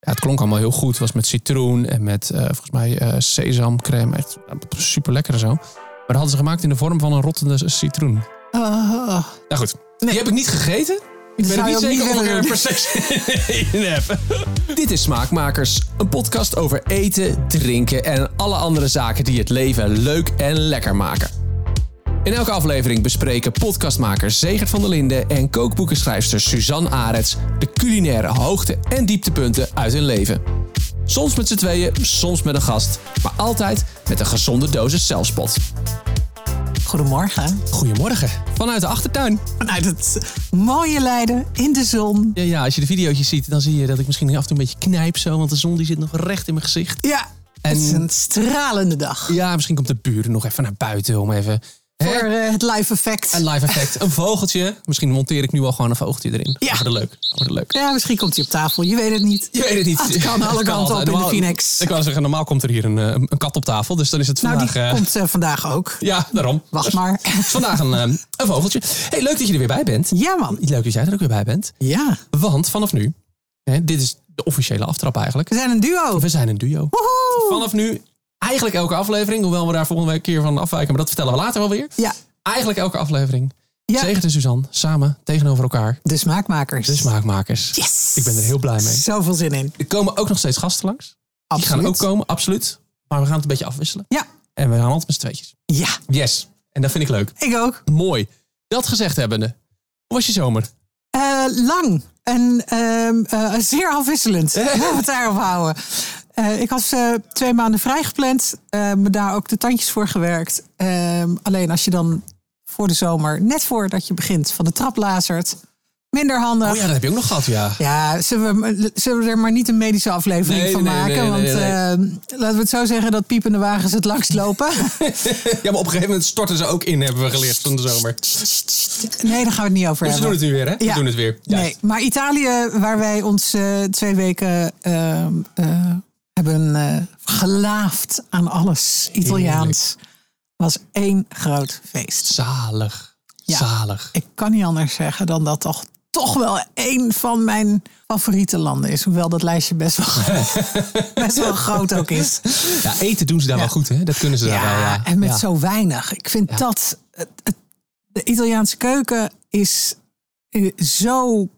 Ja, het klonk allemaal heel goed. Het was met citroen en met eh, volgens mij eh sesamcrème. Echt super lekker en zo. Maar dat hadden ze gemaakt in de vorm van een rottende citroen. Ah, Nou goed, Nee. die heb ik niet gegeten. Ik zou ben je niet ook zeker niet of ik willen er per se in heb. Dit is Smaakmakers. Een podcast over eten, drinken en alle andere zaken die het leven leuk en lekker maken. In elke aflevering bespreken podcastmakers Zegert van der Linden en kookboekenschrijfster Suzanne Arets de culinaire hoogte- en dieptepunten uit hun leven. Soms met z'n tweeën, soms met een gast, maar altijd met een gezonde dosis zelfspot. goedemorgen. Goedemorgen. Vanuit de achtertuin. Vanuit het mooie Leiden in de zon. Ja, ja, als je de videootjes ziet, dan zie je dat ik misschien af en toe een beetje knijp zo. Want de zon die zit nog recht in mijn gezicht. Ja, het is een stralende dag. Ja, misschien komt de buren nog even naar buiten om even... hè, Voor eh, het live effect. Een live effect. Een vogeltje. Misschien monteer ik nu al gewoon een vogeltje erin. Ja. Dat wordt leuk. Dat wordt leuk. Ja, misschien komt hij op tafel. Je weet het niet. Je weet het niet. Het kan alle kanten op in de Normaal- Phoenix. Ik wou zeggen, normaal komt er hier een, eh, een kat op tafel. Dus dan is het Nou, die vandaag... eh, komt eh, vandaag ook. ja, daarom. Wacht maar. Het is vandaag een, eh, een vogeltje. hey, leuk dat je er weer bij bent. Ja, man. Leuk dat jij er ook weer bij bent. Ja. Want vanaf nu... Hè, dit is de officiële aftrap eigenlijk. We zijn een duo. We zijn een duo. Woehoe. vanaf nu eigenlijk elke aflevering, hoewel we daar volgende week keer van afwijken, maar dat vertellen we later wel weer. Ja. Eigenlijk elke aflevering. Ja. Zegert en Suzanne, samen tegenover elkaar, De smaakmakers. de smaakmakers. Yes. Ik ben er heel blij mee. Zoveel zin in. Er komen ook nog steeds gasten langs. Die Absoluut. gaan ook komen, absoluut. Maar we gaan het een beetje afwisselen. Ja. En we gaan altijd met z'n tweetjes. Ja, Yes. En dat vind ik leuk. ik ook. Mooi. Dat gezegd hebbende. Hoe was je zomer? Eh, lang en ehm, eh, zeer afwisselend. Laten we het daarop houden. Eh, ik was eh, twee maanden vrijgepland. eh, me daar ook de tandjes voor gewerkt. Ehm, alleen als je dan voor de zomer, net voordat je begint, van de trap lazert. Minder handig. Oh ja, dat heb je ook nog gehad, ja. Ja, zullen we, zullen we er maar niet een medische aflevering Nee, van nee, maken? nee, nee, want nee, nee. eh, laten we het zo zeggen dat piepende wagens het langst lopen. Ja, maar op een gegeven moment storten ze ook in, hebben we geleerd van de zomer. Dus nee, daar gaan we het niet over we hebben. doen het nu weer, hè? We Ja. doen het weer. Nee, maar Italië, waar wij ons eh, twee weken eh, eh, hebben eh, gelaafd aan alles Italiaans, was één groot feest. Zalig. Ja. Zalig. Ik kan niet anders zeggen dan dat toch, toch wel één van mijn favoriete landen is. Hoewel dat lijstje best wel, best wel groot ook is. Ja, eten doen ze daar Ja. wel goed, hè? Dat kunnen ze daar wel, ja. en met Ja. zo weinig. Ik vind dat... het- het- de Italiaanse keuken is eh, zo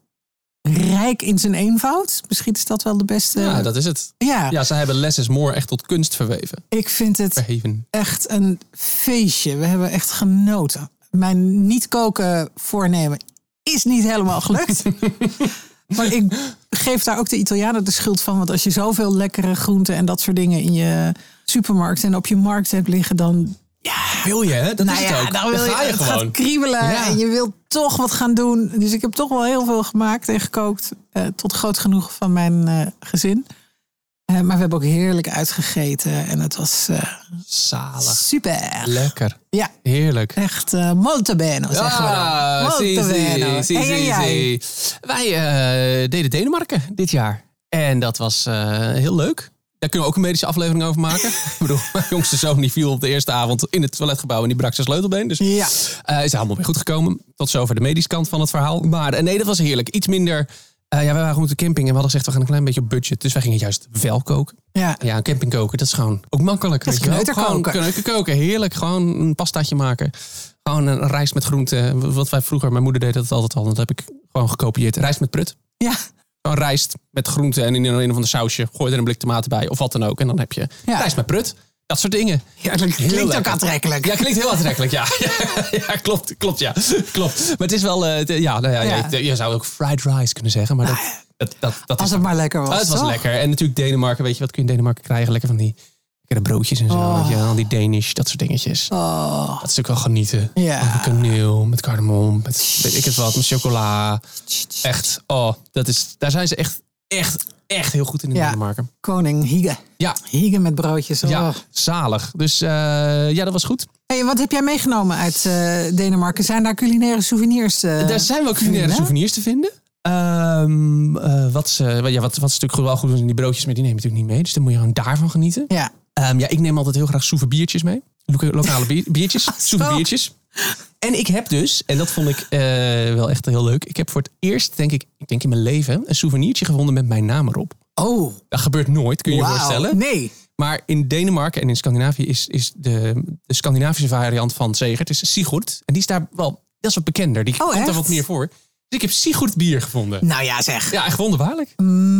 rijk in zijn eenvoud. Misschien is dat wel de beste... Ja, dat is het. eh, Ja, Ja, ze hebben less is more echt tot kunst verweven. ik vind het Verheven. echt een feestje. We hebben echt genoten. Mijn niet koken voornemen is niet helemaal gelukt. maar ik geef daar ook de Italianen de schuld van. Want als je zoveel lekkere groenten en dat soort dingen in je supermarkt en op je markt hebt liggen, dan Wil je, hè? Dat nou is ja, het ook. dan wil je, ga je het gewoon. gaat kriebelen Ja. en je wilt toch wat gaan doen. Dus ik heb toch wel heel veel gemaakt en gekookt. eh, tot groot genoeg van mijn eh, gezin. Eh, maar we hebben ook heerlijk uitgegeten en het was eh, Zalig. super. Lekker. Ja, Heerlijk. echt eh molto bene, zeggen we dan. Ah, zie, Molto zie, bene. zie, En zie, jij? zie. Wij eh, deden Denemarken dit jaar. En dat was eh, heel leuk. Daar kunnen we ook een medische aflevering over maken. Ik bedoel, mijn jongste zoon die viel op de eerste avond in het toiletgebouw en die brak zijn sleutelbeen. Dus Ja. Eh, is allemaal weer goed gekomen. Tot zover de medische kant van het verhaal. Maar eh, nee, dat was heerlijk. Iets minder. eh, ja, wij waren goed op de camping en we hadden gezegd, we gaan een klein beetje op budget. Dus wij gingen juist wel koken. Ja. Ja, een camping koken, dat is gewoon ook makkelijk. Dat is weet je wel. kneuterkoken. Gewoon kneuter koken. Heerlijk, gewoon een pastaatje maken. Gewoon een rijst met groenten. Wat wij vroeger, mijn moeder deed dat altijd al. Dat heb ik gewoon gekopieerd. Rijst met prut. Ja. Gewoon rijst met groenten en in een een of ander sausje. Gooi er een blik tomaten bij of wat dan ook. En dan heb je Ja. rijst met prut. Dat soort dingen. Heerlijk. Heel Klinkt ook lekker. aantrekkelijk. Ja, klinkt heel aantrekkelijk, ja. ja. ja, klopt, klopt, ja. Klopt. Maar het is wel, eh, de- ja, nou ja, Ja. Ah, Je, je zou ook fried rice kunnen zeggen, maar dat, dat, dat, dat Als is... het maar lekker Ah, was. het was toch? lekker. En natuurlijk Denemarken, weet je, wat kun je in Denemarken krijgen? Lekker van die lekkere broodjes en zo, Oh. weet je wel, die Danish, dat soort dingetjes. Oh, Dat is natuurlijk wel genieten. Ja. Met kaneel, met kardemom, met weet ik het wat, met chocola. Echt, oh, dat is, daar zijn ze echt, echt, echt heel goed in, in Ja. Denemarken. koning Hige. Ja, Hige met broodjes. Oh. ja, zalig. Dus eh, ja, dat was goed. Hey, wat heb jij meegenomen uit eh, Denemarken? Zijn daar culinaire souvenirs? eh? Daar zijn wel culinaire vinden. souvenirs te vinden. Ehm, eh, wat, ze, ja, wat, wat ze natuurlijk wel goed doen, zijn die broodjes, maar die neem je natuurlijk niet mee. Dus dan moet je gewoon daarvan genieten. Ja. Ehm, ja, ik neem altijd heel graag souverbiertjes mee. Lo- Lokale bier- biertjes, zo. souverbiertjes. En ik heb dus, en dat vond ik eh, wel echt heel leuk. Ik heb voor het eerst, denk ik, ik denk in mijn leven, een souvenirtje gevonden met mijn naam erop. Oh, Dat gebeurt nooit, kun je je wauw. voorstellen. Nee. Maar in Denemarken en in Scandinavië is, is de, de Scandinavische variant van Zegert is Sigurd. En die is daar wel, dat is wat bekender. Die Oh, komt daar echt? wat meer voor. Dus ik heb Sigurd bier gevonden. Nou ja, zeg. Ja, echt wonderbaarlijk.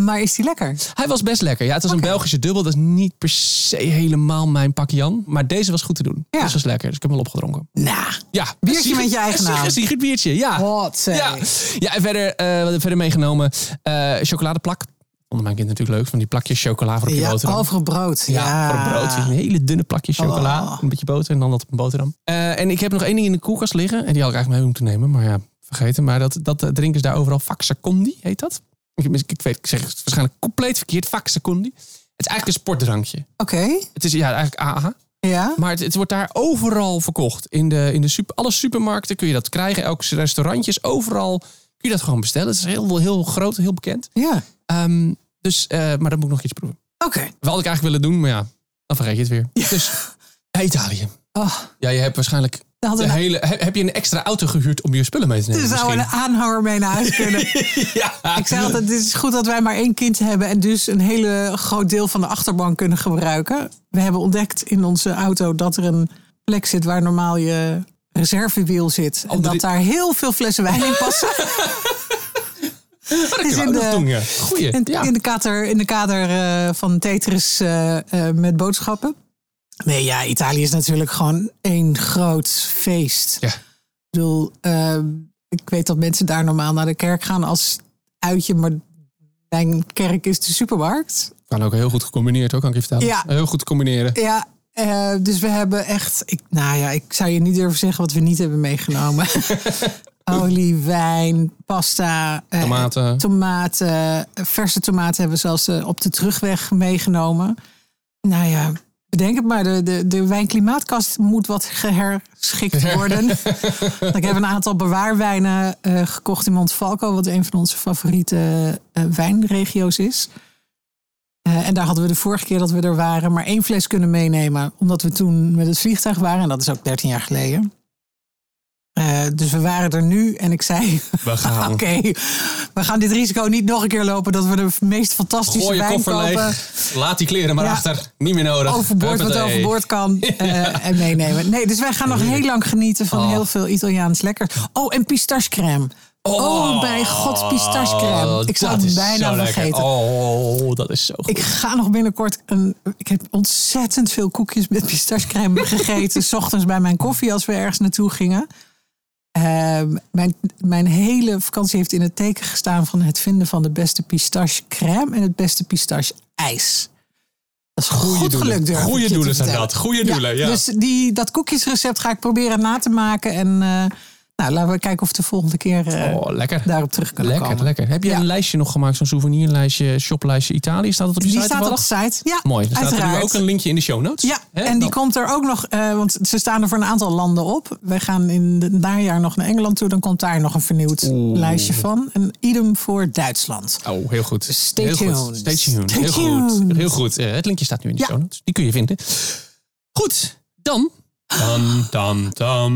Maar is die lekker? Hij was best lekker. Ja, het was een Belgische dubbel. Dat is niet per se helemaal mijn pakje Jan. Maar deze was goed te doen. Ja. Deze was lekker. Dus ik heb hem wel opgedronken. Nou, Ja. Biertje Sigurd- met je eigen Sigurd- naam. Sigurd biertje, ja. wat zeg. Ja, ja en verder, eh, wat heb ik verder meegenomen? Eh, chocoladeplak. Onder mijn kind natuurlijk leuk. Van die plakjes chocola voor op je Ja, boterham. over een brood. Ja, Ja, voor een brood. Een hele dunne plakje chocola. Een beetje boter en dan dat op een boterham. Eh, en ik heb nog één ding in de koelkast liggen. En die had ik eigenlijk mee moeten nemen. Maar ja, vergeten. Maar dat, dat eh, drinken ze daar overal. Faxacondi heet dat. Ik, ik, weet, ik zeg het waarschijnlijk compleet verkeerd. Faxacondi. Het is eigenlijk een sportdrankje. Oké, Het is ja, eigenlijk AH. ja. Maar het, het wordt daar overal verkocht. In, de, in de super, alle supermarkten kun je dat krijgen. Elk restaurantje is overal. Kun je dat gewoon bestellen. Het is heel, heel groot, heel bekend. Ja, Ehm, dus, eh, maar dan moet ik nog iets proeven. oké. Wat had ik eigenlijk willen doen, maar ja, dan vergeet je het weer. Dus bij Italië. Oh, Ja, je hebt waarschijnlijk dan de hadden we hele. he- Heb je een extra auto gehuurd om je spullen mee te nemen? dus zouden we een misschien? aanhanger mee naar huis kunnen. ja. Ik zei altijd, het is goed dat wij maar één kind hebben... en dus een hele groot deel van de achterbank kunnen gebruiken. We hebben ontdekt in onze auto dat er een plek zit... waar normaal je reservewiel zit. En Andere- dat daar heel veel flessen wijn in passen. dat is kunnen we in ook nog de- doen, ja. Goeie. In, ja. in de kader, in de kader eh, van Tetris eh, eh, met boodschappen. Nee, ja, Italië is natuurlijk gewoon één groot feest. Ja. Ik bedoel, eh, ik weet dat mensen daar normaal naar de kerk gaan als uitje, maar mijn kerk is de supermarkt. Kan ook heel goed gecombineerd, hoor, kan ik je vertellen. Ja. Heel goed combineren. Ja, eh, dus we hebben echt, ik, nou ja, ik zou je niet durven zeggen wat we niet hebben meegenomen. Olie, wijn, pasta, eh, Tomaten. tomaten, verse tomaten hebben we zelfs eh, op de terugweg meegenomen. Nou ja, bedenk het maar, de, de, de wijnklimaatkast moet wat geherschikt worden. Ik heb een aantal bewaarwijnen eh, gekocht in Montfalco, wat een van onze favoriete eh, wijnregio's is. Eh, en daar hadden we de vorige keer dat we er waren maar één fles kunnen meenemen, omdat we toen met het vliegtuig waren, en dat is ook 13 jaar geleden. Eh, dus we waren er nu en ik zei, We gaan. Oké, we gaan dit risico niet nog een keer lopen dat we de meest fantastische Gooi je wijn koffer kopen. leeg. Laat die kleren maar Ja. achter. Niet meer nodig. Overboord wat Huppatee. overboord kan eh, en meenemen. Nee, dus wij gaan nog heel lang genieten van Oh. heel veel Italiaans lekker. Oh, en pistachecrème. Oh, bij god, pistachecrème. Ik zou dat het is zo bijna lekker. vergeten. Oh, dat is zo goed. Ik ga nog binnenkort een. Ik heb ontzettend veel koekjes met pistachecrème gegeten. 's ochtends bij mijn koffie als we ergens naartoe gingen. Ehm, mijn, mijn hele vakantie heeft in het teken gestaan van het vinden van de beste pistachecrème en het beste pistache-ijs. Dat is Goeie goed doelen. geluk, durf ik Goeie je te doelen zijn vertellen. dat. Goeie doelen, ja. Dus die, dat koekjesrecept ga ik proberen na te maken. En eh, nou, laten we kijken of we de volgende keer eh, Oh, lekker. daarop terug kunnen Lekker, komen. lekker. Heb je Ja. een lijstje nog gemaakt, zo'n souvenirlijstje, shoplijstje Italië? Staat dat op je Die site staat op de toevallig? site. Ja, Mooi. Er staat er nu uiteraard. ook een linkje in de show notes. Ja, Hè? en die Dan- komt er ook nog, eh, want ze staan er voor een aantal landen op. Wij gaan in het najaar nog naar Engeland toe, dan komt daar nog een vernieuwd lijstje van. En idem voor Duitsland. Oh, heel goed. Stay heel Goed. tuned. Stay tuned. Stay heel goed. tuned. Heel goed. Eh, het linkje staat nu in de Ja. show notes. Die kun je vinden. Goed, dan. Dan, dan, dan.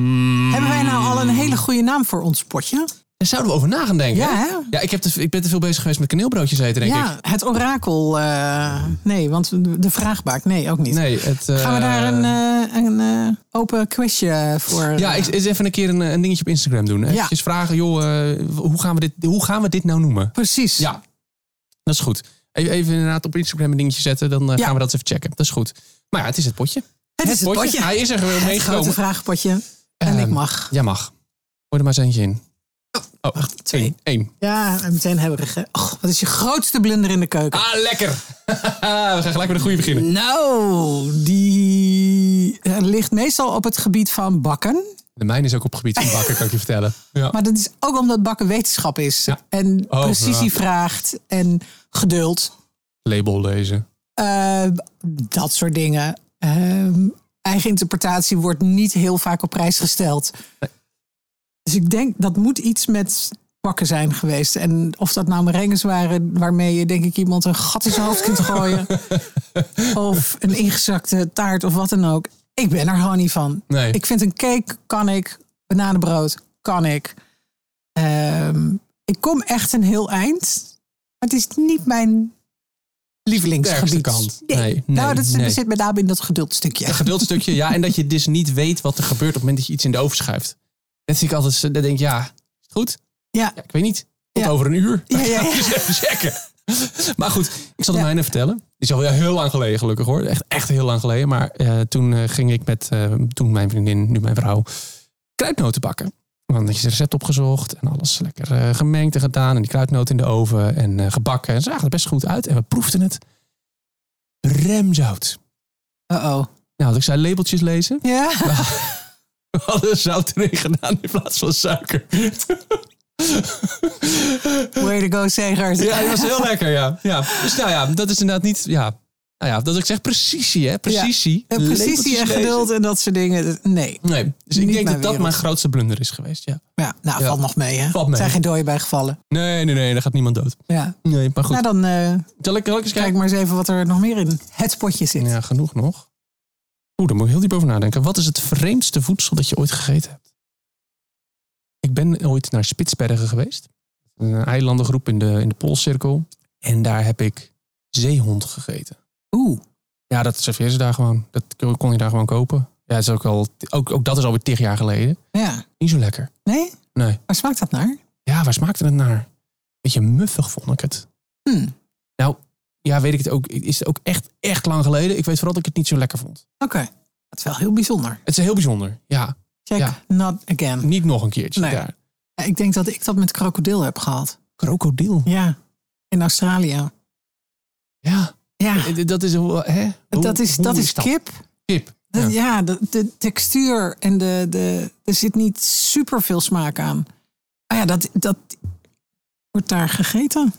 Ah. Hebben wij nou al een Hmm. hele goede naam voor ons potje? Daar zouden we over na gaan denken. Ja, hè? hè? ja ik, heb te, ik ben te veel bezig geweest met kaneelbroodjes eten, denk ik. ja, het orakel. eh, nee, want de vraagbaak, nee, ook niet. Nee, het, Gaan eh, we daar een, eh, een eh, open quizje voor? eh, Ja, ik eens even een keer een, een dingetje op Instagram doen. Even vragen, joh, eh, hoe, gaan we dit, hoe gaan we dit nou noemen? Precies. Ja, dat is goed. Even, even inderdaad op Instagram een dingetje zetten, dan eh, Ja. gaan we dat eens even checken. Dat is goed. Maar ja, het is het potje. het is het potje. Hij is er weer Het grote meegekomen. vraagpotje. En ik Ehm, mag. Jij mag. Gooi er maar eens eentje in. Oh, wacht. twee. Eén. één. Ja, en meteen hebberig. hè. Och, wat is je grootste blunder in de keuken? Ah, lekker. we gaan gelijk met de goede beginnen. Nou, die eh, ligt meestal op het gebied van bakken. De mijne is ook op het gebied van bakken, kan ik je vertellen. Ja. Maar dat is ook omdat bakken wetenschap is. Ja. En Oh, precisie ja. vraagt en geduld. Label lezen. Eh, dat soort dingen. Ehm, eigen interpretatie wordt niet heel vaak op prijs gesteld. Dus ik denk dat moet iets met bakken zijn geweest. En of dat nou merengues waren waarmee je denk ik iemand een gat in zijn hoofd kunt gooien. of een ingezakte taart of wat dan ook. Ik ben er gewoon niet van. Nee. Ik vind een cake kan ik. Bananenbrood kan ik. Ehm, ik kom echt een heel eind. Maar het is niet mijn lievelingsgebied. kant. Nee. Nee, nee, nou, dat nee. zit, zit met name in dat geduldstukje. Een geduldstukje, ja. En dat je dus niet weet wat er gebeurt op het moment dat je iets in de oven schuift. Dat vind ik altijd, zo- dan denk ik, ja, is het goed? Ja. Ja, ik weet niet. Tot Ja. over een uur. Ja, ja, ja. Dus even checken. Maar goed, ik zal het Ja. mijne vertellen. Is al heel lang geleden gelukkig hoor. Echt, echt heel lang geleden. Maar eh, toen eh, ging ik met, eh, toen mijn vriendin, nu mijn vrouw, kruidnoten bakken. Want dan had je het recept opgezocht en alles lekker eh, gemengd en gedaan. En die kruidnoten in de oven en eh, gebakken. En zagen er best goed uit. En we proefden het. Remzout. Uh-oh. Nou, had ik zei labeltjes lezen. Ja. We hadden zout erin gedaan in plaats van suiker. Way to go, Segers. Ja, dat was heel lekker, ja. ja. Dus nou ja, dat is inderdaad niet... Ja. Nou ja, dat ik zeg precisie, hè. Precisie. En precisie Lepeltjes en lezen. geduld en dat soort dingen. dat- Nee. Nee, dus ik Niet denk mijn dat dat wereld. mijn grootste blunder is geweest, ja. Ja, nou, Ja. valt nog mee, hè? Valt mee. Er zijn geen dooien bij gevallen. Nee, nee, nee, daar gaat niemand dood. Ja. Nee, maar goed. Nou, dan eh, Zal ik, zal ik eens kijk kijken? maar eens even wat er nog meer in het potje zit. Ja, genoeg nog. Oeh, daar moet ik heel diep over nadenken. Wat is het vreemdste voedsel dat je ooit gegeten hebt? Ik ben ooit naar Spitsbergen geweest. Een eilandengroep in de, in de Poolcirkel. En daar heb ik zeehond gegeten. Oeh. Ja, dat serveer ze daar gewoon. Dat kon je daar gewoon kopen. Ja, dat is ook, al, ook, ook dat is alweer tig jaar geleden. Ja. Niet zo lekker. Nee? Nee. Waar smaakt dat naar? Ja, waar smaakte het naar? Beetje muffig vond ik het. Nou, Hm. Oké. Ja, weet ik het ook. Is het ook echt, echt lang geleden. Ik weet vooral dat ik het niet zo lekker vond. Dat is wel heel bijzonder. Het is heel bijzonder. Ja, Check Ja. not again. niet nog een keertje. Nee. Ja. Ja, Ik denk dat ik dat met krokodil heb gehad. Krokodil. Ja. In Australië. Ja, Ja. eh, dat is... hoe- Hè? Hoe- dat is, hoe dat is kip. Kip. Dat- Ja. ja, de, de textuur en de, de, er zit niet super veel smaak aan. Maar ja, dat, dat wordt daar gegeten.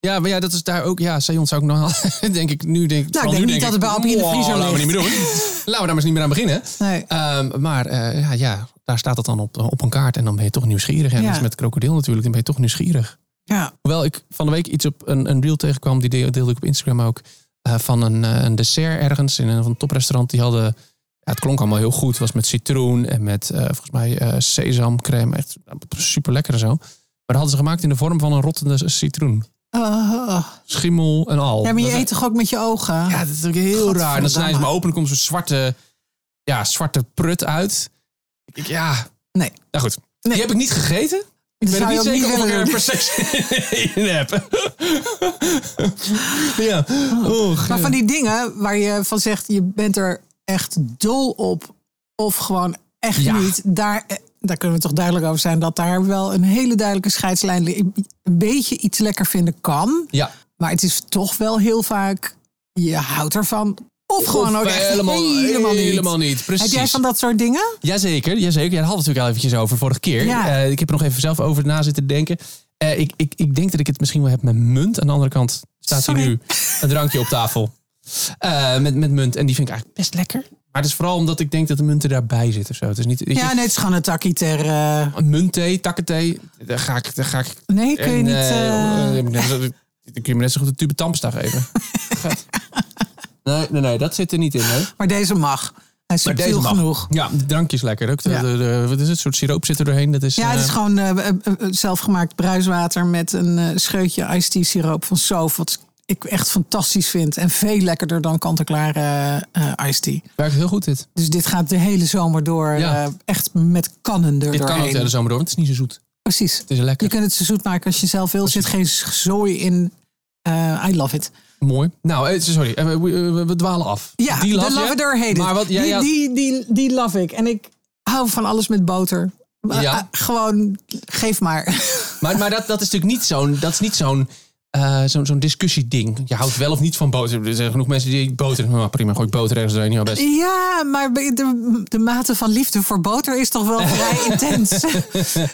Ja, maar ja, dat is daar ook... Ja, zeehond zou ik nog... denk ik nu denk Nou, ik nu denk niet dat het bij Appie in de wow, vriezer laten we ligt. niet meer doen. laten we daar maar eens niet meer aan beginnen. Nee. Ehm, maar eh, ja, ja, daar staat het dan op, eh, op een kaart en dan ben je toch nieuwsgierig. En Ja. dat is met krokodil natuurlijk, dan ben je toch nieuwsgierig. Ja, Hoewel ik van de week iets op een, een reel tegenkwam, die deel- deelde ik op Instagram ook. eh, van een, eh, een dessert ergens in een van een toprestaurant. Die hadden, ja, het klonk allemaal heel goed. Het was met citroen en met eh, volgens mij eh, sesamcrème. Echt super lekker en zo. Maar dat hadden ze gemaakt in de vorm van een rottende citroen. Oh. Schimmel en al. ja maar je Dat- eet toch ook met je ogen? ja, dat is ook heel raar. En dan snijden ze Godverdamme. me open en komt zo'n zwarte, ja, zwarte prut uit. Ik, ik- ja. Nee. Nou goed. Die heb ik niet gegeten. Ik Dat weet zou ook niet je ook zeker of ik er niet willen doen. per se in heb. ja. Oh, Maar van die dingen waar je van zegt, je bent er echt dol op. Of gewoon echt Ja. niet. Daar, eh, daar kunnen we toch duidelijk over zijn. Dat daar wel een hele duidelijke scheidslijn ligt. Een beetje iets lekker vinden kan. ja. Maar het is toch wel heel vaak, je houdt ervan. Of gewoon ook echt helemaal, niet. helemaal niet. Precies. Heb jij van dat soort dingen? Jazeker, jazeker. Ja, daar hadden we het natuurlijk al eventjes over vorige keer. Ja. Eh, ik heb er nog even zelf over na zitten denken. Eh, ik, ik, ik denk dat ik het misschien wel heb met munt. Aan de andere kant staat Sorry. hier nu een drankje op tafel. Eh, met, met munt. En die vind ik eigenlijk best lekker. Maar het is vooral omdat ik denk dat de munten daarbij zitten. of Zo. Het is niet, Ja, nee, het is gewoon een takkie ter... eh, Een muntthee, takkenthee. Daar ga ik... Daar ga ik nee, kun je en, niet... eh, eh, eh, dan kun je me net zo goed een tube tandpasta geven. Vet. nee, nee, nee, dat zit er niet in. Hè? maar deze mag. Hij is Maar subtiel mag. genoeg. Ja, de drankjes lekker. Ook de, Ja. de- de- wat is het? Een soort siroop zit er doorheen. Dat is, Ja, het is eh, gewoon eh, eh, eh, zelfgemaakt bruiswater met een eh, scheutje iced tea siroop van Sof. Wat ik echt fantastisch vind. En veel lekkerder dan kant-en-klaar eh, eh, iced tea. Werkt heel goed dit. Dus dit gaat de hele zomer door. Ja. eh, echt met kannen Dit er kan ook eh, doorheen. de hele zomer door, want het is niet zo zoet. Precies. Het is lekker. Je kunt het zo zoet maken als je zelf wil. Er zit geen zooi in. Eh, I love it. Mooi. Nou, eh, sorry, eh, we, we- we- we dwalen af. Ja, die love de je. lavender heet het. Maar wat, ja, die, ja, Die, die, die love ik. En ik hou van alles met boter. Maar, Ja. eh, gewoon, geef maar. Maar, maar dat, dat is natuurlijk niet zo'n dat is niet zo'n eh, zo'n zo'n discussieding. Je houdt wel of niet van boter. Er zijn genoeg mensen die boter... Oh, prima, gooi ik boter ergens doorheen. Ja, best. Ja, maar de, de mate van liefde voor boter is toch wel vrij intens. Eh,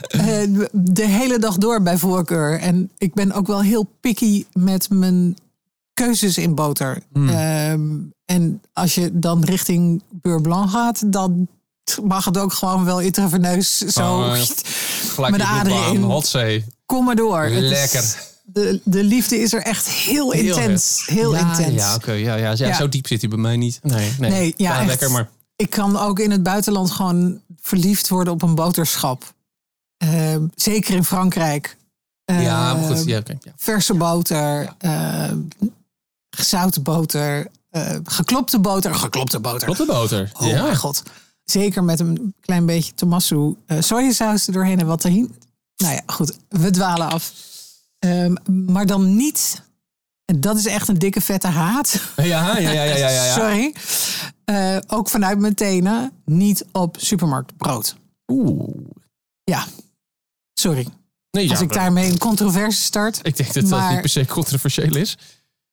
de hele dag door bij voorkeur. En ik ben ook wel heel picky met mijn keuzes in boter. Hmm. Ehm, en als je dan richting Beurre Blanc gaat, dan mag het ook gewoon wel intraveneus zo. Oh, ja. Gelijk Met de die broek aderen aan. in. Hotzee. Kom maar door. Het is- Lekker. De, de liefde is er echt heel, intens. Heel ja, intens. Ja, oké. ja, ja, ja, Ja. Zo diep zit hij bij mij niet. Nee, nee. Nee, ja, echt. lekker, maar... ik kan ook in het buitenland gewoon verliefd worden op een boterschap. Ehm, zeker in Frankrijk. Ja, maar goed. Ehm, Ja, oké. ja. Verse boter. ehm, gezouten boter, eh, geklopte boter, geklopte boter. Klopt de boter. Oh mijn god. Zeker met een klein beetje tomasso eh sojasaus er doorheen en wat tahin. Nou ja, goed. We dwalen af. Ehm, maar dan niet... En dat is echt een dikke vette haat. Ja, ja, ja, ja, ja. ja, ja. Sorry. Eh, ook vanuit mijn tenen. Niet op supermarktbrood. Oeh. Ja. Sorry. Nee, Als ja, ik daarmee een controverse start. ik denk dat dat Maar- niet per se controversieel is.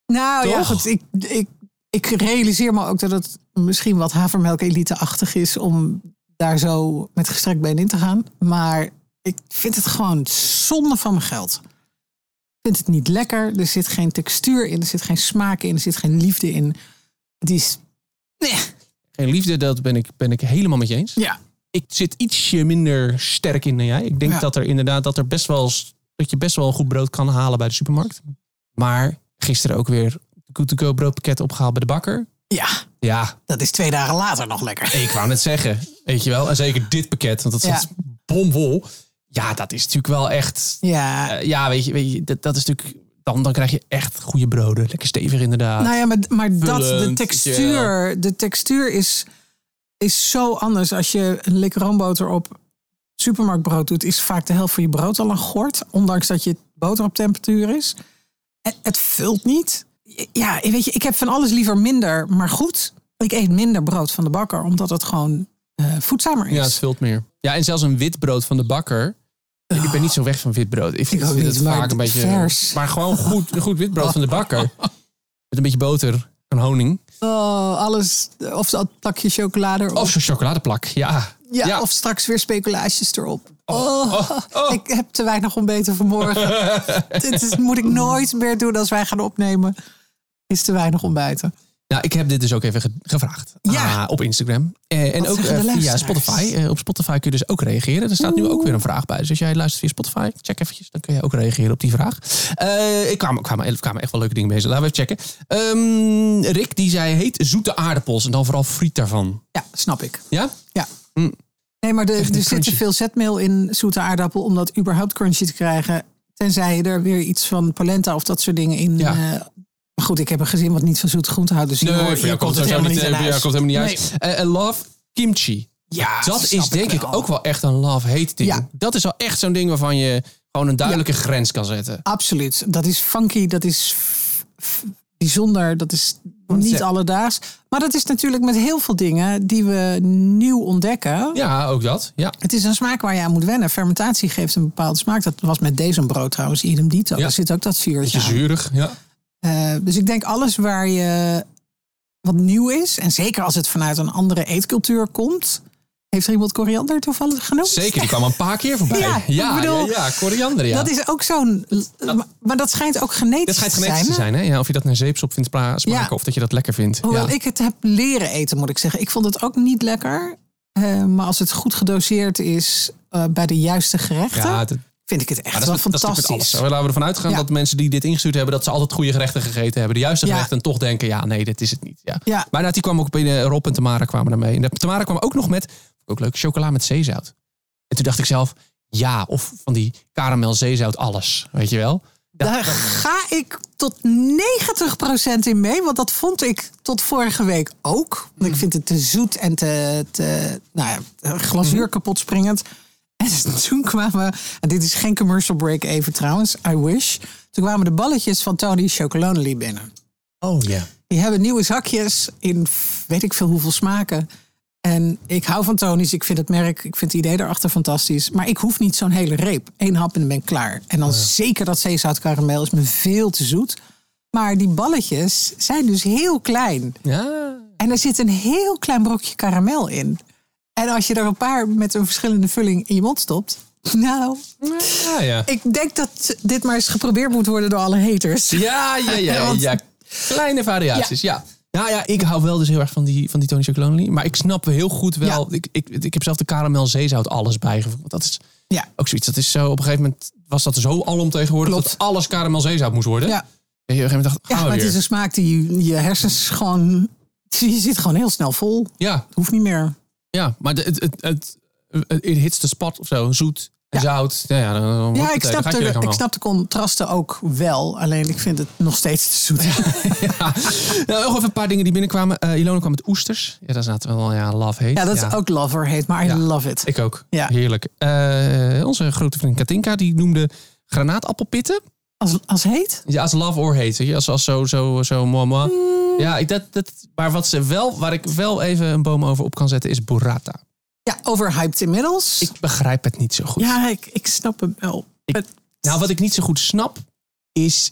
Nou ja, Toch? goed. Ik, ik, ik realiseer me ook dat het misschien wat havermelk-elite-achtig is om daar zo met gestrekt been in te gaan. Maar ik vind het gewoon zonde van mijn geld. Ik vind het niet lekker. Er zit geen textuur in, er zit geen smaak in, er zit geen liefde in. Het is. Nee. Geen liefde, dat ben ik, ben ik helemaal met je eens. Ja. Ik zit ietsje minder sterk in dan jij. Ik denk Ja. dat er inderdaad dat er best wel s- dat je best wel een goed brood kan halen bij de supermarkt. Maar gisteren ook weer good to go broodpakket opgehaald bij de bakker. Ja, Ja, dat is twee dagen later nog lekker. ik wou net zeggen, weet je wel, en zeker dit pakket, want dat Ja. zat bomvol. Ja, dat is natuurlijk wel echt Ja. Eh, ja, weet je, weet je dat, dat is natuurlijk. Dan, dan krijg je echt goede broden. Lekker stevig, inderdaad. Nou ja, maar, maar dat, de Vullend, textuur, de textuur is, is zo anders. Als je een lik roomboter op supermarktbrood doet, is vaak de helft van je brood al een gort. Ondanks dat je boter op temperatuur is. Het, het vult niet. Ja, weet je, ik heb van alles liever minder, maar goed. Ik eet minder brood van de bakker, omdat het gewoon eh, voedzamer is. ja, het vult meer. Ja, en zelfs een wit brood van de bakker. Ik ben niet zo weg van wit brood. Ik vind Ik ook vind niet, het maar vaak een beetje. vers. Maar gewoon goed, een goed wit brood van de bakker. Met een beetje boter en honing. Oh, alles, of dat plakje chocolade. erop. Of zo'n chocoladeplak. Ja. Ja, Ja. of straks weer speculaties erop. Oh, oh. Ik heb te weinig ontbeten vanmorgen. Dit is, moet ik nooit meer doen als wij gaan opnemen. Is te weinig ontbijten. Nou, ik heb dit dus ook even ge- gevraagd. Ja. Ah, op Instagram. Eh, en Wat ook zeggen de eh, via luisteraars? Spotify. Eh, op Spotify kun je dus ook reageren. Er staat nu ook weer een vraag bij. Dus als jij luistert via Spotify, check eventjes. Dan kun je ook reageren op die vraag. Eh, ik kwam, kwamen, kwamen echt wel leuke dingen bezig. Laten we even checken. Ehm, Rick, die zei, heet zoete aardappels. En dan vooral friet daarvan. Ja, snap ik. Ja? Ja. Mm. Nee, maar de- Echt niet er zit te crunchy. veel zetmeel in zoete aardappel om dat überhaupt crunchy te krijgen. Tenzij je er weer iets van polenta of dat soort dingen in. Ja. eh, maar goed, ik heb een gezin wat niet van zoete groente houdt. Dus hier hoor- hier komt het helemaal niet aan Ja, huis. komt helemaal niet Nee. uit. Eh, en love kimchi. Ja, Dat snap is denk ik ook wel echt een love-hate ding. Ja. Dat is wel echt zo'n ding waarvan je gewoon een duidelijke grens kan zetten. Absoluut. Dat is funky, dat is f- f- bijzonder, dat is niet zeg- alledaags. Maar dat is natuurlijk met heel veel dingen die we nieuw ontdekken. Ja, ook dat. Ja. Het is een smaak waar je aan moet wennen. Fermentatie geeft een bepaalde smaak. Dat was met deze brood trouwens, idem dito. Ja. Daar zit ook dat Beetje vuurtje aan. zuurig, ja. Eh, dus ik denk alles waar je wat nieuw is... en zeker als het vanuit een andere eetcultuur komt... Heeft er iemand koriander toevallig genoemd? Zeker, die kwam een paar keer voorbij. Ja, Ja, ik ja, bedoel, ja, koriander, ja. Dat is ook zo'n... maar- Maar dat schijnt ook genetisch, dat schijnt genetisch te zijn, hè? Ja, of je dat naar zeepsop vindt pla- smaken, Ja. of dat je dat lekker vindt. Hoewel ja. ik het heb leren eten, moet ik zeggen. Ik vond het ook niet lekker. Eh, maar als het goed gedoseerd is eh, bij de juiste gerechten, ja, dat, vind ik het echt maar dat, wel is, met- dat is natuurlijk met alles. fantastisch. zo. Laten we ervan uitgaan Ja. dat mensen die dit ingestuurd hebben, dat ze altijd goede gerechten gegeten hebben. De juiste Ja. gerechten en toch denken, ja, nee, dit is het niet. Ja. Ja. Maar inderdaad, die kwam ook binnen, Rob en Tamara kwamen daarmee. En de- Tamara kwam ook nog met, ook leuk, chocola met zeezout. En toen dacht ik zelf, ja, of van die karamel zeezout alles, weet je wel. Ja, Daar ga ik tot 90% in mee. Want dat vond ik tot vorige week ook. Mm. Want ik vind het te zoet en te, te nou ja, Mm. glazuur kapot springend. En toen kwamen, en dit is geen commercial break even trouwens, I wish. Toen kwamen de balletjes van Tony Chocolonely binnen. Oh ja. Die hebben nieuwe zakjes in f- weet ik veel hoeveel smaken. En ik hou van Tony's, ik vind het merk, ik vind het idee erachter fantastisch. Maar ik hoef niet zo'n hele reep. Eén hap en dan ben ik klaar. En dan zeker dat zeezout karamel is me veel te zoet. Maar die balletjes zijn dus heel klein. Ja, En er zit een heel klein brokje karamel in. En als je er een paar met een verschillende vulling in je mond stopt... Nou, ja, ja. ik denk dat dit maar eens geprobeerd moet worden door alle haters. Ja, ja, ja. Want- ja. Kleine variaties, ja. Nou ja, ik hou wel dus heel erg van die, van die Tony Chocolonely. Maar ik snap heel goed wel... Ik, ik, ik heb zelf de karamel zeezout alles bijgevoegd. Want Dat is Ja, ook zoiets. Dat is zo, op een gegeven moment was dat zo alomtegenwoordig... Klopt. dat alles karamel zeezout moest worden. ja. En je op een gegeven moment dacht, oh, Ja, gaan maar we het weer. is een smaak die je hersens gewoon... Je zit gewoon heel snel vol. Ja, Hoeft niet meer. ja, maar de- het, het, het, het, it hits the spot of zo. Zoet, zout. Ja, ja, dan, dan- Ja, ik dan snap, gaat de, je lichaam ik al. snap de contrasten ook wel. Alleen ik vind het nog steeds te zoet. Ja. Nou, nog even een paar dingen die binnenkwamen. Eh Ilona kwam met oesters. Ja, daar zaten we al ja, love hate. Ja, dat is ook lover heet, maar I Ja. love it. Ik ook. Ja. Heerlijk. Eh, onze grote vriend Katinka, die noemde granaatappelpitten. Als, als heet? Ja, als love or hate. weet je, Als, als zo, zo, zo, mama. Mm. Ja, ik, dat, dat, maar wat ze wel, waar ik wel even een boom over op kan zetten, is burrata. Ja, overhyped inmiddels. Ik begrijp het niet zo goed. ja, ik, ik snap hem wel. Ik- Het- Nou, wat ik niet zo goed snap, is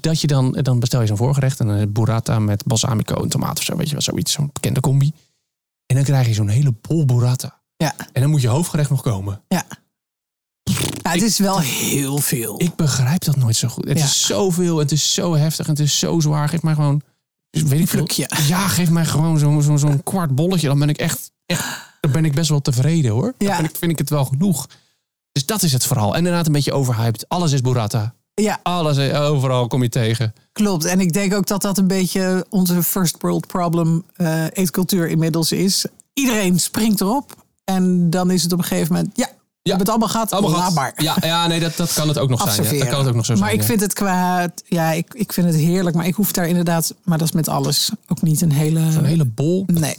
dat je dan, dan bestel je zo'n voorgerecht en een burrata met balsamico en tomaat of zo, weet je wel, zoiets, zo'n bekende combi. En dan krijg je zo'n hele bol burrata. ja. En dan moet je hoofdgerecht nog komen. Ja. ja, het is wel heel veel. Ik begrijp dat nooit zo goed. Het Ja. is zoveel, het is zo heftig, het is zo zwaar. Geef mij gewoon, dus weet ik veel. plukje. Ja, geef mij gewoon zo'n zo'n zo'n kwart bolletje. Dan ben ik echt, echt, dan ben ik best wel tevreden hoor. Dan Ja. ben ik, vind ik het wel genoeg. Dus dat is het verhaal. En inderdaad een beetje overhyped. Alles is burrata. Ja, Alles, eh, overal kom je tegen. klopt. En ik denk ook dat dat een beetje onze first world problem eh, eetcultuur inmiddels is. Iedereen springt erop en dan is het op een gegeven moment... Ja, we hebben het allemaal gehad, Allemaal laat gehad. maar. Ja, ja nee, dat, dat kan het ook nog zijn. Ja. Observeren. Dat kan het ook nog zo maar zijn. ik ja. vind het qua... Ja, ik, ik vind het heerlijk. Maar ik hoef daar inderdaad... Maar dat is met alles ook niet een hele... Een hele bol. Nee.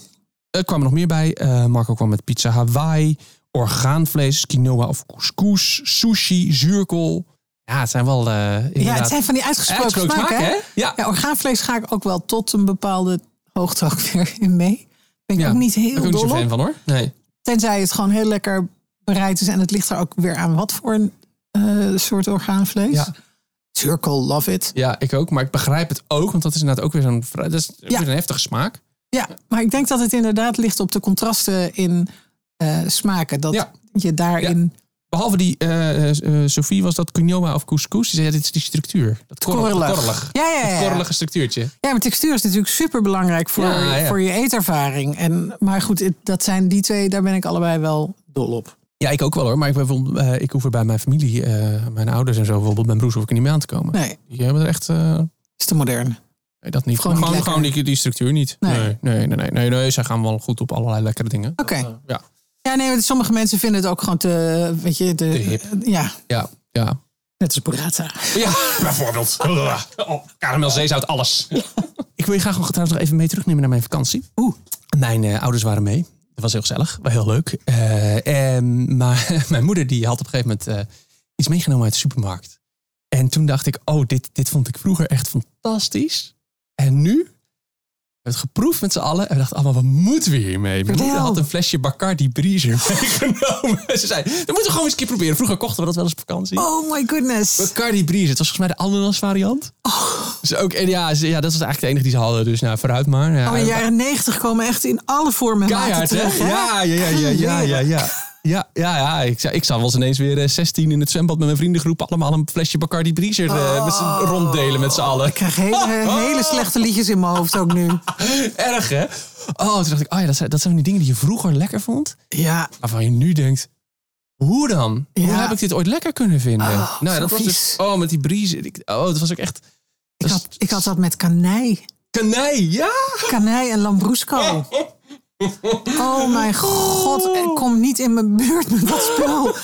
Er kwamen nog meer bij. Eh, Marco kwam met pizza Hawaii, orgaanvlees, quinoa of couscous, sushi, zuurkool. Ja, het zijn wel eh inderdaad... Ja, het zijn van die uitgesproken, Uitgesproken smaken. smaken, hè? hè? Ja. orgaanvlees ga ik ook wel tot een bepaalde hoogte ook weer in mee. Ben ik ook niet Daar ben heel ik ook dol niet zo op. fan van hoor. Nee. Tenzij het gewoon heel lekker bereid is. En het ligt er ook weer aan wat voor een eh, soort orgaanvlees. Ja. Circle, love it. Ja, ik ook. Maar ik begrijp het ook. Want dat is inderdaad ook weer zo'n vrij- dat is Ja. weer een heftige smaak. Ja, maar ik denk dat het inderdaad ligt op de contrasten in eh, smaken. Dat Ja. je daarin Behalve die eh, eh, eh, Sophie was dat quinoa of couscous. Die zei, ja, dit is die structuur. Dat korrel, korrelig. korrelig. Ja, ja, Dat ja. korrelige structuurtje. Ja, maar textuur is natuurlijk super belangrijk voor, Ja, ja. voor je eetervaring. En, maar goed, het- dat zijn die twee, daar ben ik allebei wel dol op. Ja, ik ook wel hoor. Maar ik, bijvoorbeeld, eh, ik hoef er bij mijn familie, eh, mijn ouders en zo bijvoorbeeld, mijn broers hoef ik er niet mee aan te komen. Nee, Die hebben er echt, eh, is te modern. nee, dat niet. Gewoon niet gewoon, lekker. gewoon die, die structuur niet. Nee. Nee. Nee, nee, nee, nee, nee. Zij gaan wel goed op allerlei lekkere dingen. Oké. Dat, eh, ja. Ja, nee, want sommige mensen vinden het ook gewoon te, weet je, de, Te hip. Ja, Ja. Ja. net als burrata. Ja, bijvoorbeeld. Oh, karamel, zeezout, alles. Ik wil je graag nog trouwens nog even mee terugnemen naar mijn vakantie. Oeh. Mijn eh, ouders waren mee. Dat was heel gezellig. Wel heel leuk. Eh, en- maar mijn moeder die had op een gegeven moment eh, iets meegenomen uit de supermarkt. En toen dacht ik, oh, dit, dit vond ik vroeger echt fantastisch. En nu? We hebben het geproefd met z'n allen. En we dachten allemaal, wat moeten we hiermee? Mijn moeder Vertel. had een flesje Bacardi Breezer meegenomen. Ze zei, dat moeten we gewoon eens een keer proberen. Vroeger kochten we dat wel eens op vakantie. Oh my goodness. Bacardi Breeze. Het was volgens mij de ananas variant. Oh. Dus ook, en ja, ze- ja, dat was eigenlijk de enige die ze hadden. Dus nou, vooruit maar. Ja, Oh, de jaren negentig komen echt in alle vormen en maten Keihard, hè? terug, hè? Ja, ja, ja, ja, ja, ja, ja. Ja, ja, ja. Ik, zou- ik zou wel eens ineens weer eh, 16 in het zwembad met mijn vriendengroep... allemaal een flesje Bacardi Breezer eh, met z'n- ronddelen met z'n allen. Oh. Ik krijg hele, Oh. hele slechte liedjes in mijn hoofd ook nu. Erg, hè? Oh, toen dacht ik, oh ja, dat zijn, dat zijn die dingen die je vroeger lekker vond... Ja, waarvan je nu denkt... Hoe dan? Hoe Ja. heb ik dit ooit lekker kunnen vinden? Oh, nou, zo dat was dus, vies. oh, met die breezer. Ik- Oh, dat was ook echt... ik Dus had, ik had dat met kanij. Kanij, ja! Kanij en Lambrusco. Oh mijn god, eh, kom niet in mijn buurt met dat spul.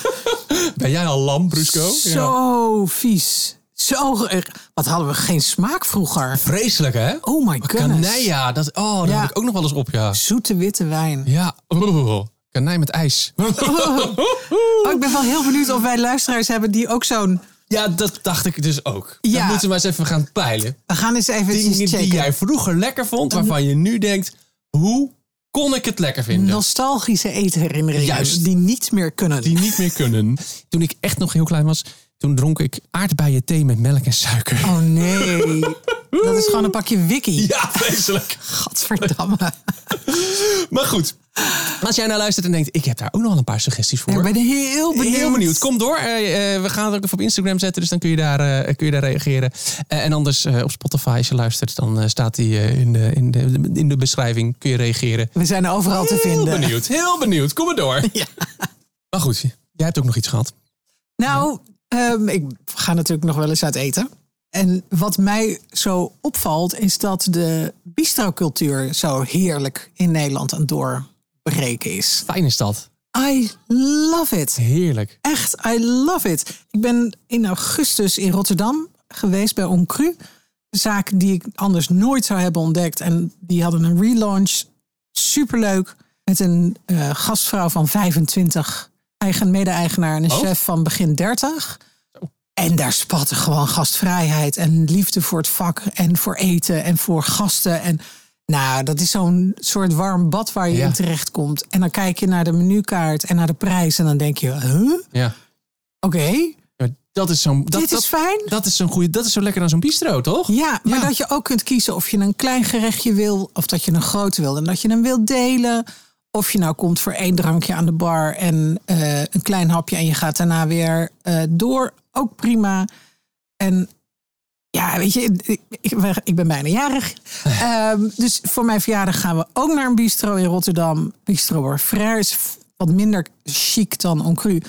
Ben jij al lam, Brusco? Zo vies. Zo, erg. wat hadden we geen smaak vroeger. Vreselijk, hè? Oh my goodness. Kanij, ja. Dat, oh, dat Ja. heb ik ook nog wel eens op, ja. Zoete witte wijn. Ja. Kanij met ijs. Oh, ik ben wel heel benieuwd of wij luisteraars hebben die ook zo'n... ja, dat dacht ik dus ook. Dan Ja. moeten we maar eens even gaan peilen. We gaan eens even Dingen checken. die jij vroeger lekker vond, waarvan je nu denkt... Hoe kon ik het lekker vinden? Nostalgische eetherinneringen Juist. die niet meer kunnen. Die niet meer kunnen. Toen ik echt nog heel klein was, toen dronk ik aardbeien thee met melk en suiker. Oh nee, dat is gewoon een pakje wiki. Ja, vreselijk. Gadverdamme. Maar goed. Als jij nou luistert en denkt, ik heb daar ook nog wel een paar suggesties voor. Ik ben heel benieuwd. Heel benieuwd. Kom door. Eh, eh, we gaan het ook even op Instagram zetten, dus dan kun je daar, eh, kun je daar reageren. Eh, en anders eh, op Spotify, als je luistert, dan eh, staat die eh, in, de, in, de, in de beschrijving. Kun je reageren. We zijn overal te Heel vinden. benieuwd. Heel benieuwd. Kom maar door. Ja. Maar goed, jij hebt ook nog iets gehad. Nou, ehm, ik ga natuurlijk nog wel eens uit eten. En wat mij zo opvalt, is dat de bistrocultuur zo heerlijk in Nederland aan het doorbreken is. Fijn is dat. I love it. Heerlijk. Echt, I love it. Ik ben in augustus in Rotterdam geweest bij Oncru. Een zaak die ik anders nooit zou hebben ontdekt. En die hadden een relaunch. Superleuk. Met een eh, gastvrouw van 25. Eigen mede-eigenaar en een Oh. chef van begin 30. En daar spatte gewoon gastvrijheid en liefde voor het vak en voor eten en voor gasten. En nou, dat is zo'n soort warm bad waar je Ja. in terecht komt. En dan kijk je naar de menukaart en naar de prijs en dan denk je, huh? Oké, Ja. Maar dat is zo'n... Dat, dit dat, is fijn. dat is zo'n goede... Dat is zo lekker aan zo'n bistro, toch? Ja, maar Ja. dat je ook kunt kiezen of je een klein gerechtje wil of dat je een groot wil. En dat je hem wilt delen. Of je nou komt voor één drankje aan de bar en eh, een klein hapje en je gaat daarna weer eh, door. Ook prima. En ja, weet je, ik, ik- ik ben bijna jarig. Ehm, dus voor mijn verjaardag gaan we ook naar een bistro in Rotterdam. Bistro Orfraire is f- wat minder chic dan Oncru.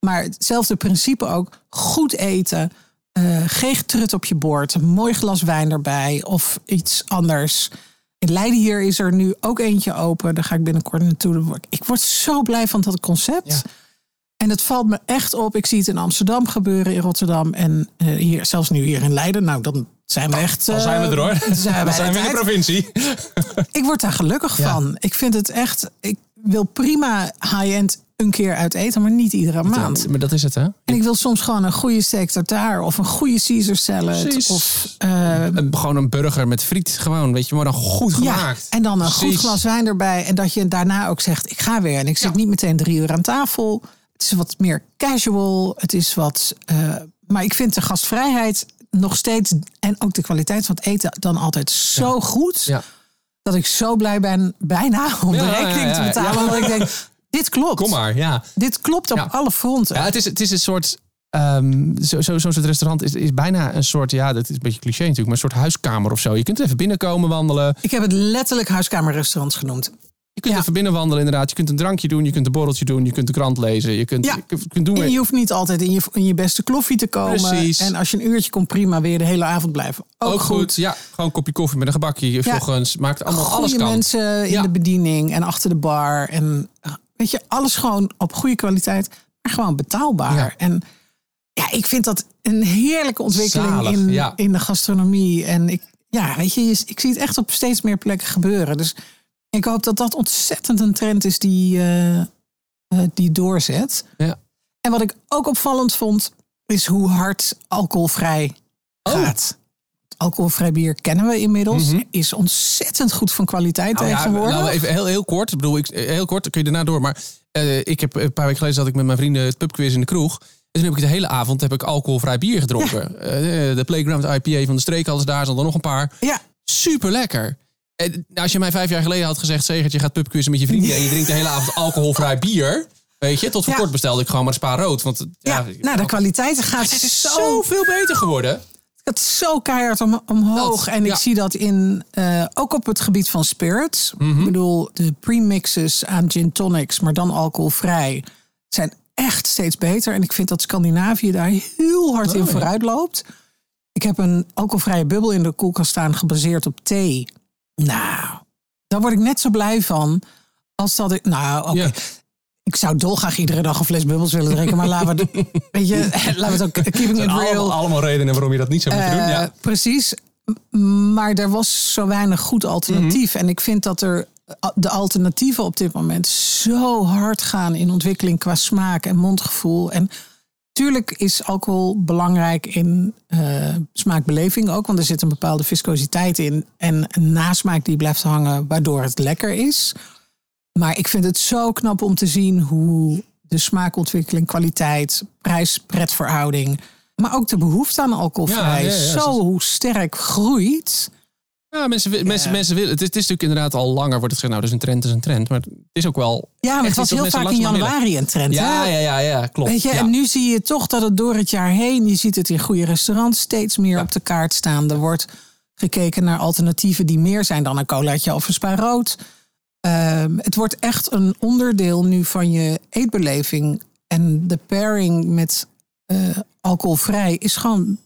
Maar hetzelfde principe ook. Goed eten. eh geen getrut op je bord. Een mooi glas wijn erbij. Of iets anders. In Leiden hier is er nu ook eentje open. Daar ga ik binnenkort naartoe. Ik word zo blij van dat concept. Ja. En dat valt me echt op. Ik zie het in Amsterdam gebeuren, in Rotterdam en eh, hier, zelfs nu hier in Leiden. Nou, dan zijn we echt. eh, Dan zijn we er hoor. Dan zijn Dan we, bij zijn de we in de tijd. provincie. Ik word daar gelukkig Ja. van. Ik vind het echt. Ik wil prima high-end een keer uit eten, maar niet iedere maand. Maar dat is het, hè? En ik wil soms gewoon een goede steak tartare of een goede Caesar salad. Precies. Of eh, Een- gewoon een burger met friet, gewoon, weet je, maar dan goed gemaakt. Ja, en dan een goed Precies. glas wijn erbij. En dat je daarna ook zegt, ik ga weer. En ik zit niet meteen drie uur aan tafel. Het is wat meer casual. Het is wat... eh, maar ik vind de gastvrijheid nog steeds... en ook de kwaliteit van het eten dan altijd zo goed... Ja. dat ik zo blij ben bijna om Ja, de ja, rekening ja, te ja. betalen. Ja. Omdat ik denk, dit klopt. Kom maar, ja. Dit klopt op Ja. alle fronten. ja het, is, het is een soort. ehm, zo, zo, zo'n soort restaurant is, is bijna een soort. Ja, dat is een beetje cliché natuurlijk, maar een soort huiskamer of zo. Je kunt even binnenkomen wandelen. Ik heb het letterlijk huiskamerrestaurants genoemd. Je kunt Ja. even binnen wandelen, inderdaad. Je kunt een drankje doen, je kunt een borreltje doen, je kunt de krant lezen. Je kunt, Ja. je kunt- kunt doen. En wat- je hoeft niet altijd in je, in je beste kloffie te komen. Precies. En als je een uurtje komt, prima, weer de hele avond blijven. Ook, Ook goed. Ja, gewoon een kopje koffie met een gebakje. Ja. Vloggens, maakt allemaal goede alles kan. mensen in Ja. de bediening en achter de bar. En eh, weet je, alles gewoon op goede kwaliteit, maar gewoon betaalbaar. Ja. En ja, ik vind dat een heerlijke ontwikkeling Zalig, in, ja. in de gastronomie. En ik, ja, weet je, je- ik zie het echt op steeds meer plekken gebeuren. Dus ik hoop dat dat ontzettend een trend is die, eh, eh, die doorzet. Ja. En wat ik ook opvallend vond, is hoe hard alcoholvrij Oh. gaat. Alcoholvrij bier kennen we inmiddels. Mhm. Is ontzettend goed van kwaliteit eh, Nou ja, tegenwoordig. nou, even heel, heel kort. Ik bedoel, ik, heel kort, dan kun je daarna door. Maar eh, ik heb een paar weken geleden zat ik met mijn vrienden het pubquiz in de kroeg. En toen heb ik de hele avond heb ik alcoholvrij bier gedronken. Eh, de Playground IPA van de streek hadden ze daar, zat er nog een paar. Ja, Super lekker. als je mij vijf jaar geleden had gezegd, Segert, je gaat pubquizzen met je vrienden en je drinkt de hele avond alcoholvrij bier. Weet je, tot voor Ja. kort bestelde ik gewoon maar spa rood. Want eh, ja, ja, nou de kwaliteit gaat het is zo, zoveel beter geworden. gaat zo keihard om, omhoog. Dat, en ik ja. zie dat in, eh, ook op het gebied van spirits. Mhm. Ik bedoel, de premixes aan gin tonics, maar dan alcoholvrij, zijn echt steeds beter. En ik vind dat Scandinavië daar heel hard in Oh, ja. vooruit loopt. Ik heb een alcoholvrije bubbel in de koelkast staan, gebaseerd op thee. Nou, daar word ik net zo blij van als dat ik. Nou, oké. Ja. Ik zou dolgraag iedere dag een fles bubbels willen drinken, maar laten we, het- weet je, laten we het ook keeping it real. Allemaal, allemaal redenen waarom je dat niet zou moeten doen. Eh, Ja. Precies, M- maar er was zo weinig goed alternatief. Mhm. En ik vind dat er eh, de alternatieven op dit moment zo hard gaan in ontwikkeling qua smaak en mondgevoel. En tuurlijk is alcohol belangrijk in eh, smaakbeleving ook, want er zit een bepaalde viscositeit in en een nasmaak die blijft hangen, waardoor het lekker is. Maar ik vind het zo knap om te zien hoe de smaakontwikkeling, kwaliteit, prijs-pretverhouding, maar ook de behoefte aan alcoholvrij Ja, ja, ja, zo sterk groeit. Ja, Nou, mensen, wi- mensen, mensen willen. Het is, het is natuurlijk inderdaad al langer wordt het gezegd. Nou, dus een trend is een trend. Maar het is ook wel. Ja, maar echt het was iets wat heel mensen vaak in langzaam januari een trend. willen. hè? Ja, ja, ja, ja, klopt. Weet je, ja. en nu zie je toch dat het door het jaar heen, je ziet het in goede restaurants steeds meer op de kaart staan. Er wordt gekeken naar alternatieven die meer zijn dan een colaatje of een spa rood. Ehm, het wordt echt een onderdeel nu van je eetbeleving. En de pairing met eh, alcoholvrij is gewoon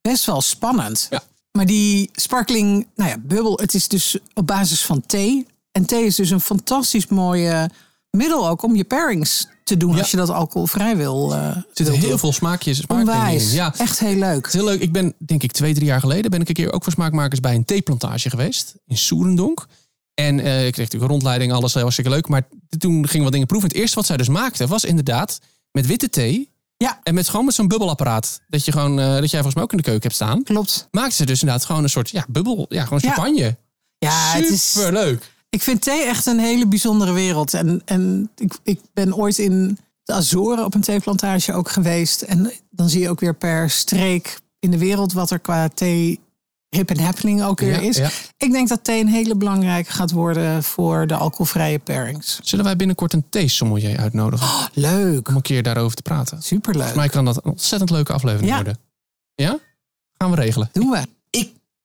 best wel spannend. Ja. Maar die sparkling, nou ja, bubbel, het is dus op basis van thee. En thee is dus een fantastisch mooie middel ook om je pairings te doen Ja. als je dat alcoholvrij wil. eh, Er zitten wil heel doen. veel smaakjes en smaakdingen in. Onwijs. Ja, Echt heel leuk. Het is heel leuk. Ik ben, denk ik, twee, drie jaar geleden ben ik een keer ook voor smaakmakers bij een theeplantage geweest. In Soerendonk. En eh, ik kreeg natuurlijk een rondleiding, alles heel hartstikke leuk. Maar t- toen gingen we wat dingen proeven. Het eerste wat zij dus maakten was inderdaad met witte thee. Ja. En met gewoon met zo'n bubbelapparaat. Dat, je gewoon, eh, dat jij volgens mij ook in de keuken hebt staan. Klopt. Maakten ze dus inderdaad gewoon een soort ja, bubbel. Ja, gewoon Ja. champagne. Ja, Ah, het is, Superleuk. ik vind thee echt een hele bijzondere wereld. En, en ik, ik ben ooit in de Azoren op een theeplantage ook geweest. En dan zie je ook weer per streek in de wereld wat er qua thee hip en happening ook weer Ja, is. ja. Ik denk dat thee een hele belangrijke gaat worden voor de alcoholvrije pairings. Zullen wij binnenkort een theesommelier uitnodigen Oh. Leuk. om een keer daarover te praten? Superleuk. Volgens mij kan dat een ontzettend leuke aflevering Ja. worden. Ja? Gaan we regelen. Doen we.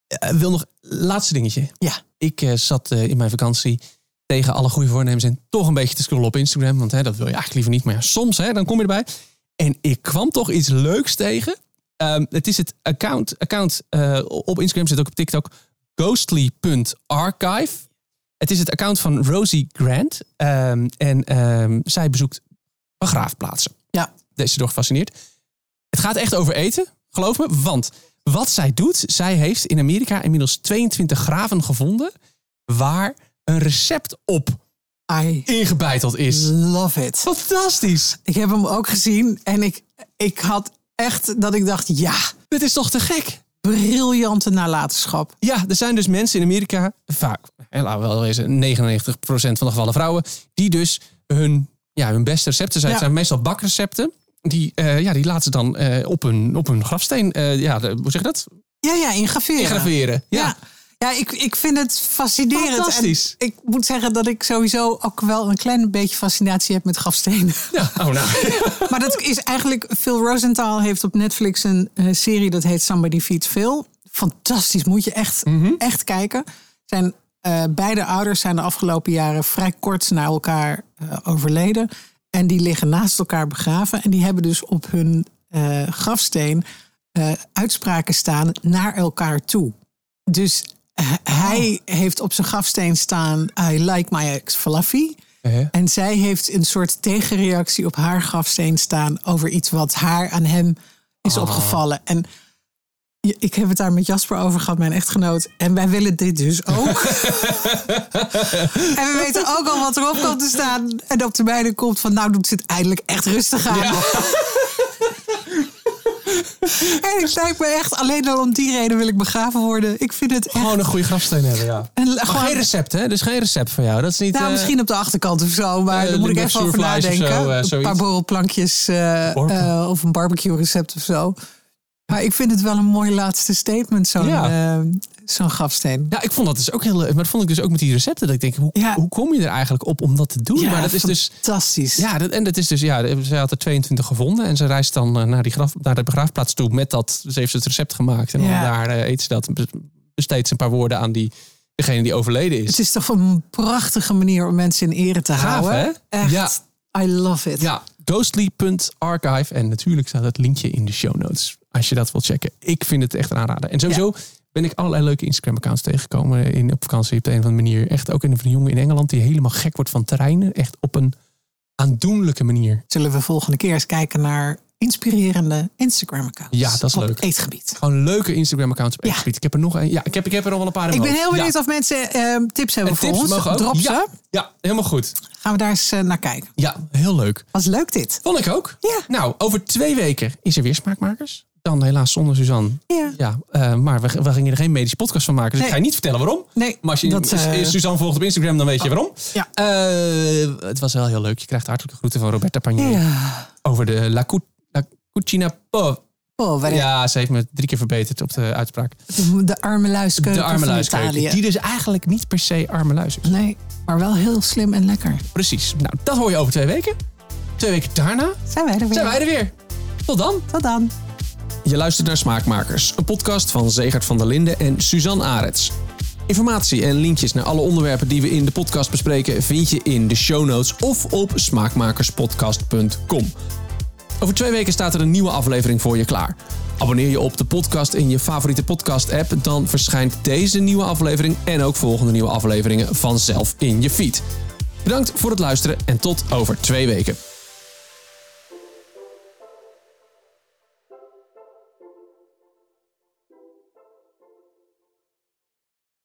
Eh, wil nog laatste dingetje. Ja. Ik eh, zat eh, in mijn vakantie tegen alle goede voornemens en toch een beetje te scrollen op Instagram. Want hè, dat wil je eigenlijk liever niet. Maar ja, soms hè, dan kom je erbij. En ik kwam toch iets leuks tegen. Ehm, het is het account, account eh, op Instagram, zit ook op TikTok. Ghostly.archive. Het is het account van Rosie Grant. Ehm, en ehm, zij bezoekt begraafplaatsen. Ja. Deze door gefascineerd. Het gaat echt over eten, geloof me. Want wat zij doet, zij heeft in Amerika inmiddels 22 graven gevonden waar een recept op I ingebeiteld is. love it. Fantastisch. Ik heb hem ook gezien en ik, ik had echt dat ik dacht, ja, Dit is toch te gek? briljante nalatenschap. Ja, er zijn dus mensen in Amerika, vaak, hè, laten we wel wezen, 99% van de gevallen vrouwen, die dus hun, ja, hun beste recepten zijn. Ja. Het zijn meestal bakrecepten. Die, eh, ja, die laten ze dan eh, op, hun, op hun grafsteen, eh, ja, de- hoe zeg je dat? Ja, ja, ingraveren. Graveren. Ja. Ja, ja ik, ik vind het fascinerend. Fantastisch. En ik moet zeggen dat ik sowieso ook wel een klein beetje fascinatie heb met grafstenen. Ja, Oh, nou. Maar dat is eigenlijk. Phil Rosenthal heeft op Netflix een eh, serie dat heet Somebody Feeds Phil. Fantastisch, moet je echt, echt kijken. Zijn, eh, beide ouders zijn de afgelopen jaren vrij kort na elkaar eh, overleden. En die liggen naast elkaar begraven. En die hebben dus op hun eh, grafsteen eh, uitspraken staan naar elkaar toe. Dus eh, hij heeft op zijn grafsteen staan: I like my ex Fluffy. Eh, En zij heeft een soort tegenreactie op haar grafsteen staan over iets wat haar aan hem is opgevallen. En je- ik heb het daar met Jasper over gehad, mijn echtgenoot. En wij willen dit dus ook. en we weten ook al wat erop komt te staan. En op de beide komt van nou doet ze het eindelijk echt rustig aan. en het lijkt me echt, alleen al om die reden wil ik begraven worden. Ik vind het echt... Gewoon een goede grafsteen hebben, ja. een- Maar gewoon- geen recept, hè? Dus geen recept van jou. Dat is niet. Nou, eh, misschien op de achterkant of zo, maar eh, daar moet ik Limburg even over surflies of nadenken. zo, eh, een zoiets. paar borrelplankjes eh, Borrel- eh, of een barbecue recept of zo. Maar ik vind het wel een mooi laatste statement, zo'n Ja. eh, zo'n grafsteen. Ja, ik vond dat dus ook heel leuk. Maar dat vond ik dus ook met die recepten. Dat ik denk, hoe, Ja. hoe kom je er eigenlijk op om dat te doen? maar dat is dus. Fantastisch. Ja, dat, en dat is dus. Ja, ze had er 22 gevonden. En ze reist dan eh, naar, die graf, naar de begraafplaats toe met dat. Ze heeft het recept gemaakt. En dan Ja. daar eh, eet ze dat. Be- Besteedt ze een paar woorden aan die, degene die overleden is. Het is toch een prachtige manier om mensen in ere te Gaaf, houden. hè? Echt, Ja. I love it. Ja, ghostly.archive. En natuurlijk staat het linkje in de show notes. Als je dat wilt checken. Ik vind het echt een aanrader. En sowieso ben ik allerlei leuke Instagram-accounts tegengekomen in, op vakantie. Op de een of andere manier. Echt ook een van de jongen in Engeland die helemaal gek wordt van terreinen. Echt op een aandoenlijke manier. Zullen we volgende keer eens kijken naar inspirerende Instagram-accounts? Ja, dat is op leuk. het eetgebied. Gewoon leuke Instagram-accounts op Ja. Eetgebied. Ik heb er nog een. Ja, ik heb, ik heb er nog wel een paar in Ik mijn ben hoofd. heel benieuwd ja. of mensen eh, tips hebben En voor tips ons. mogen ook. Drop ze. Ja. Ja, helemaal goed. Gaan we daar eens eh, naar kijken. Ja, heel leuk. Was leuk dit. Vond ik ook. Ja. Nou, over twee weken is er weer Smaakmakers. Dan helaas zonder Suzanne. Ja. Ja, eh, maar we, we gingen er geen medische podcast van maken. Dus Nee. ik ga je niet vertellen waarom. Nee, Maar als je dat, eh, Ah, is- is Suzanne volgt op Instagram, dan weet je waarom. ja. Eh, het was wel heel leuk. Je krijgt hartelijke groeten van Roberta Panier Ja. over de La, Cu- La Cucina Po. Oh, waar Ja, ze heeft me drie keer verbeterd op de uitspraak. de, de arme luiskeuken De arme van luiskeuken. Italië. Die dus eigenlijk niet per se arme luis is. Nee, maar wel heel slim en lekker. Precies. Nou, dat hoor je over twee weken. Twee weken daarna Zijn wij er weer. zijn wij er weer. Tot dan. Tot dan. Je luistert naar Smaakmakers, een podcast van Zegert van der Linden en Suzanne Arets. Informatie en linkjes naar alle onderwerpen die we in de podcast bespreken vind je in de show notes of op smaakmakerspodcast.com. Over twee weken staat er een nieuwe aflevering voor je klaar. Abonneer je op de podcast in je favoriete podcast-app, dan verschijnt deze nieuwe aflevering en ook volgende nieuwe afleveringen vanzelf in je feed. Bedankt voor het luisteren en tot over twee weken.